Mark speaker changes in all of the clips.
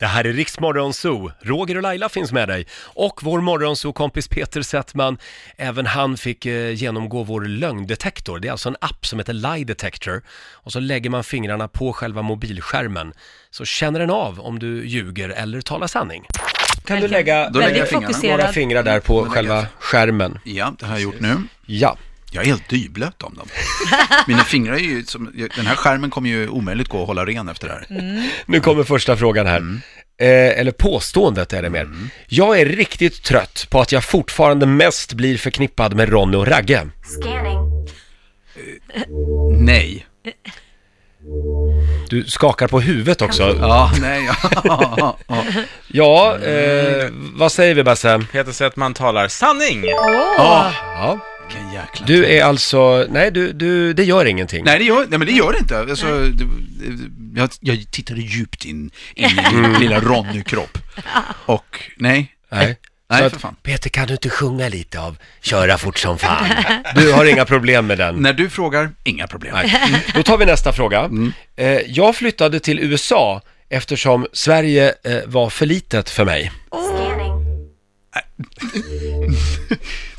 Speaker 1: Det här är Riksmorgon Zoo. Roger och Laila finns med dig. Och vår morgonzoo-kompis Peter Settman, även han fick eh, genomgå vår lögndetektor. Det är alltså en app som heter Lie Detector. Och så lägger man fingrarna på själva mobilskärmen. Så känner den av om du ljuger eller talar sanning. Kan du
Speaker 2: Verkligen.
Speaker 1: lägga
Speaker 2: Då lägger
Speaker 1: några
Speaker 2: jag
Speaker 1: fingrar,
Speaker 2: fingrarna.
Speaker 1: några fingrar där på
Speaker 2: jag-
Speaker 1: själva skärmen?
Speaker 2: Ja, det har jag gjort nu.
Speaker 1: Ja.
Speaker 2: Jag är helt dyblöt om dem. Mina fingrar är ju som, den här skärmen kommer ju omöjligt gå att hålla ren efter det här.
Speaker 1: Nu kommer första frågan här.
Speaker 2: Mm.
Speaker 1: Eh, eller påståendet är det mer. Jag är riktigt trött på att jag fortfarande mest blir förknippad med Ronny och Ragge.
Speaker 3: Scanning.
Speaker 2: Nej.
Speaker 1: Du skakar på huvudet också.
Speaker 2: Ja, nej, ja. ja, ja.
Speaker 1: Ja, eh, vad säger vi Basse?
Speaker 4: Peter Settman talar sanning.
Speaker 2: Ja,
Speaker 1: Ja.
Speaker 2: vilken jäkla...
Speaker 1: Du är alltså, nej du, du, det gör ingenting.
Speaker 2: Nej, det gör, nej, men det gör det inte. Alltså, det- jag, jag tittade djupt in i min lilla Ronny-kropp. Och, nej.
Speaker 1: Nej.
Speaker 2: Nej,
Speaker 1: Så att,
Speaker 2: för fan.
Speaker 1: Peter kan du inte sjunga lite av Köra fort som fan? Du har inga problem med den.
Speaker 2: När du frågar, inga problem.
Speaker 1: Nej. Då tar vi nästa fråga.
Speaker 2: Mm.
Speaker 1: Eh, jag flyttade till USA eftersom Sverige eh, var för litet för mig.
Speaker 3: Scanning.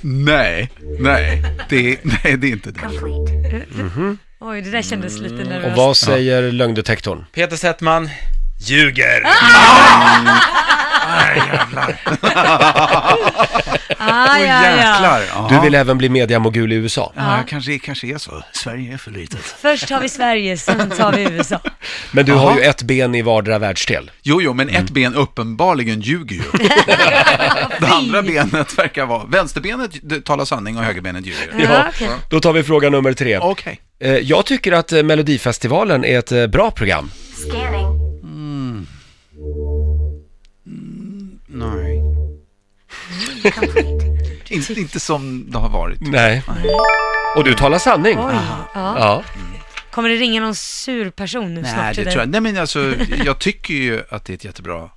Speaker 2: Nej, nej, det, nej, det är inte det.
Speaker 3: Complete.
Speaker 5: Oj, det där kändes
Speaker 2: Mm.
Speaker 5: lite
Speaker 1: Och
Speaker 5: nervöst.
Speaker 1: vad säger lögndetektorn?
Speaker 4: Peter Settman ljuger.
Speaker 5: Ah,
Speaker 2: Åh,
Speaker 5: ja, ja.
Speaker 2: jäklar. Ja.
Speaker 1: Du vill även bli mediamogul i USA.
Speaker 2: Ja, jag kanske, kanske är så. Sverige är för litet.
Speaker 5: Först har vi Sverige, sen tar vi USA.
Speaker 1: Men du har
Speaker 2: Aha.
Speaker 1: ju ett ben i vardera världsdel.
Speaker 2: Jo, jo, men ett ben uppenbarligen ljuger ju. det andra benet verkar vara... Vänsterbenet det talar sanning och högerbenet ljuger.
Speaker 1: Ja.
Speaker 5: okej.
Speaker 1: Då tar vi fråga nummer tre.
Speaker 2: Okej.
Speaker 1: Eh, Jag tycker att eh, Melodifestivalen är ett eh, bra program.
Speaker 3: Scanning.
Speaker 2: Nej. inte, inte som det har varit.
Speaker 5: Mm.
Speaker 1: Nej. Och du talar sanning.
Speaker 5: Oj,
Speaker 2: Ah.
Speaker 5: ja.
Speaker 1: Ja.
Speaker 5: Kommer det ringa någon sur person nu
Speaker 2: Nej,
Speaker 5: snart
Speaker 2: det
Speaker 5: till
Speaker 2: tror jag.
Speaker 5: dig?
Speaker 2: Nej, men alltså, jag tycker ju att det är ett jättebra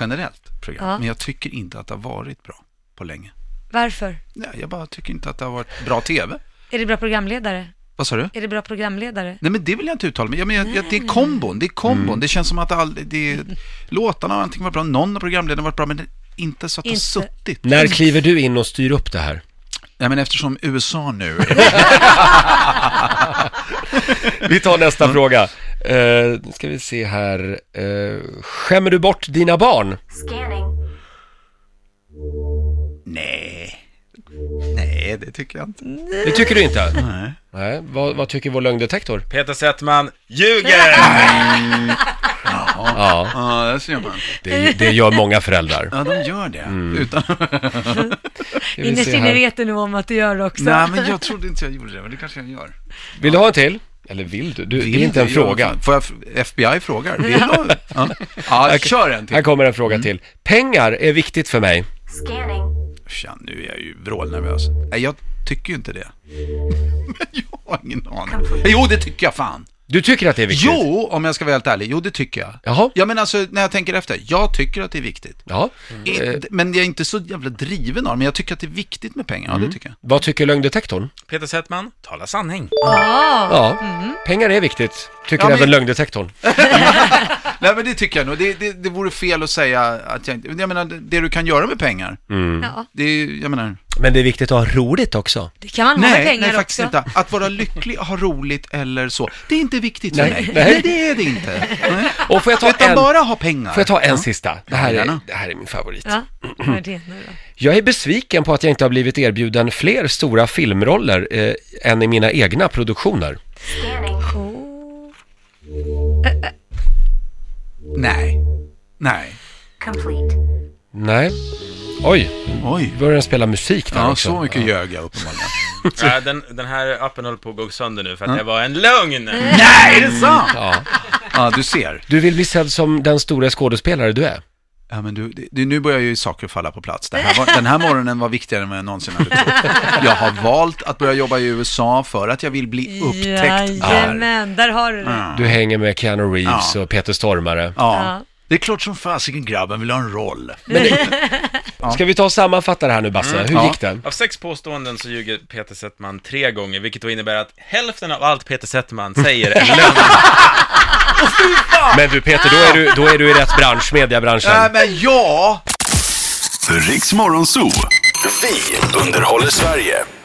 Speaker 2: generellt program.
Speaker 5: Ja.
Speaker 2: Men jag tycker inte att det har varit bra på länge.
Speaker 5: Varför?
Speaker 2: Nej, jag bara tycker inte att det har varit bra tv.
Speaker 5: Är det bra programledare?
Speaker 2: Vad sa du?
Speaker 5: Är det bra programledare?
Speaker 2: Nej men det vill jag inte uttala mig ja, men jag, jag, Det är kombon, det är kombon. Det känns som att all, det, låtarna har antingen varit bra, någon av programledarna har varit bra, men det- inte så att det har
Speaker 5: Inte.
Speaker 2: suttit.
Speaker 1: När kliver du in och styr upp det här?
Speaker 2: Nej men eftersom USA nu...
Speaker 1: Vi tar nästa fråga. Eh, nu ska vi se här. Eh, skämmer du bort dina barn?
Speaker 3: Scanning.
Speaker 2: Nej. Nej, det tycker jag inte.
Speaker 1: Det tycker du inte?
Speaker 2: Nej.
Speaker 1: Nej. Vad, vad tycker vår lögndetektor?
Speaker 4: Peter Settman ljuger.
Speaker 1: Ja,
Speaker 2: Ja, där ser man.
Speaker 1: det, det gör många föräldrar.
Speaker 2: Ja, de gör det.
Speaker 1: Mm.
Speaker 2: Utan...
Speaker 1: Ska vi
Speaker 5: Innerst
Speaker 1: se
Speaker 5: inne
Speaker 1: här.
Speaker 5: vet du nog om att du gör det också.
Speaker 2: Nej, men jag trodde inte jag gjorde det, men det kanske jag gör.
Speaker 1: Vill du ha en till? Eller vill du? du det är inte en
Speaker 2: jag-
Speaker 1: fråga.
Speaker 2: Får jag... FBI frågar. Vill du? Ja, ja kör en
Speaker 1: Här
Speaker 2: till.
Speaker 1: kommer en fråga till. Pengar är viktigt för mig.
Speaker 3: Scanning.
Speaker 2: Tja, nu är jag ju vrålnervös. Nej, jag tycker ju inte det. Men jag har ingen aning. Jo, det tycker jag fan.
Speaker 1: Du tycker att det är viktigt?
Speaker 2: Jo, om jag ska vara helt ärlig. Jo, det tycker jag.
Speaker 1: Jaha.
Speaker 2: Ja, men alltså när jag tänker efter. Jag tycker att det är viktigt.
Speaker 1: Ja.
Speaker 2: Eh, Men jag är inte så jävla driven av det, men jag tycker att det är viktigt med pengar. Ja, det tycker jag.
Speaker 1: Vad tycker lögndetektorn?
Speaker 4: Peter Settman talar sanning.
Speaker 1: Ja, pengar är viktigt, tycker
Speaker 2: Mm. Ja, men-
Speaker 1: även lögndetektorn.
Speaker 2: Nej, men det tycker jag nog. Det, det, det vore fel att säga att jag inte... Jag menar, det- det du kan göra med pengar,
Speaker 5: Ja,
Speaker 2: det är jag menar...
Speaker 1: Men det är viktigt att ha roligt också.
Speaker 5: det kan man ha med
Speaker 2: Nej,
Speaker 5: pengar
Speaker 2: nej, faktiskt
Speaker 5: också.
Speaker 2: inte. Att vara lycklig, ha roligt eller så, det är inte viktigt för
Speaker 1: Nej,
Speaker 2: mig.
Speaker 1: nej.
Speaker 2: Nej. det är det inte. Nej.
Speaker 1: Och får jag ta
Speaker 2: Utan
Speaker 1: en,
Speaker 2: bara ha pengar.
Speaker 1: får jag ta en
Speaker 2: Ja.
Speaker 1: sista? Det här, är,
Speaker 2: Gärna.
Speaker 1: det här är min favorit.
Speaker 5: Ja, vad är det nu då?
Speaker 1: Jag är besviken på att jag inte har blivit erbjuden fler stora filmroller eh, än i mina egna produktioner.
Speaker 3: Scanning.
Speaker 2: Nej. Nej.
Speaker 3: Complete.
Speaker 1: Nej. Oj,
Speaker 2: Oj.
Speaker 1: nu börjar den spela musik där
Speaker 2: Ja,
Speaker 1: också.
Speaker 2: så mycket ljög jag uppenbarligen.
Speaker 4: Ja, Eh, den, den här appen håller på att gå sönder nu för att det var en lögn.
Speaker 2: Nej, är det sant?
Speaker 1: Ja.
Speaker 2: Mm. Ja, du ser.
Speaker 1: Du vill bli sedd som den stora skådespelare du är.
Speaker 2: Ja, men du, det, det- nu börjar ju saker falla på plats. Det här var, den här morgonen var viktigare än vad jag någonsin hade trott. Jag har valt att börja jobba i USA för att jag vill bli upptäckt där.
Speaker 5: Jajamän, där har du det.
Speaker 1: Du hänger med Keanu Reeves och Peter Stormare.
Speaker 2: Ja.
Speaker 5: Ja.
Speaker 2: Det är klart som fasiken grabben vill ha en roll.
Speaker 1: Ska vi ta och sammanfatta det här nu Basse? Hur
Speaker 2: Ja.
Speaker 1: gick det?
Speaker 4: Av sex påståenden så ljuger Peter Settman tre gånger, vilket då innebär att hälften av allt Peter Settman säger är lögn.
Speaker 1: Men du Peter, då är du, då är du i rätt bransch,
Speaker 2: Nej
Speaker 1: mediabranschen.
Speaker 2: men ja!
Speaker 6: Riks Morgonzoo. Vi underhåller Sverige.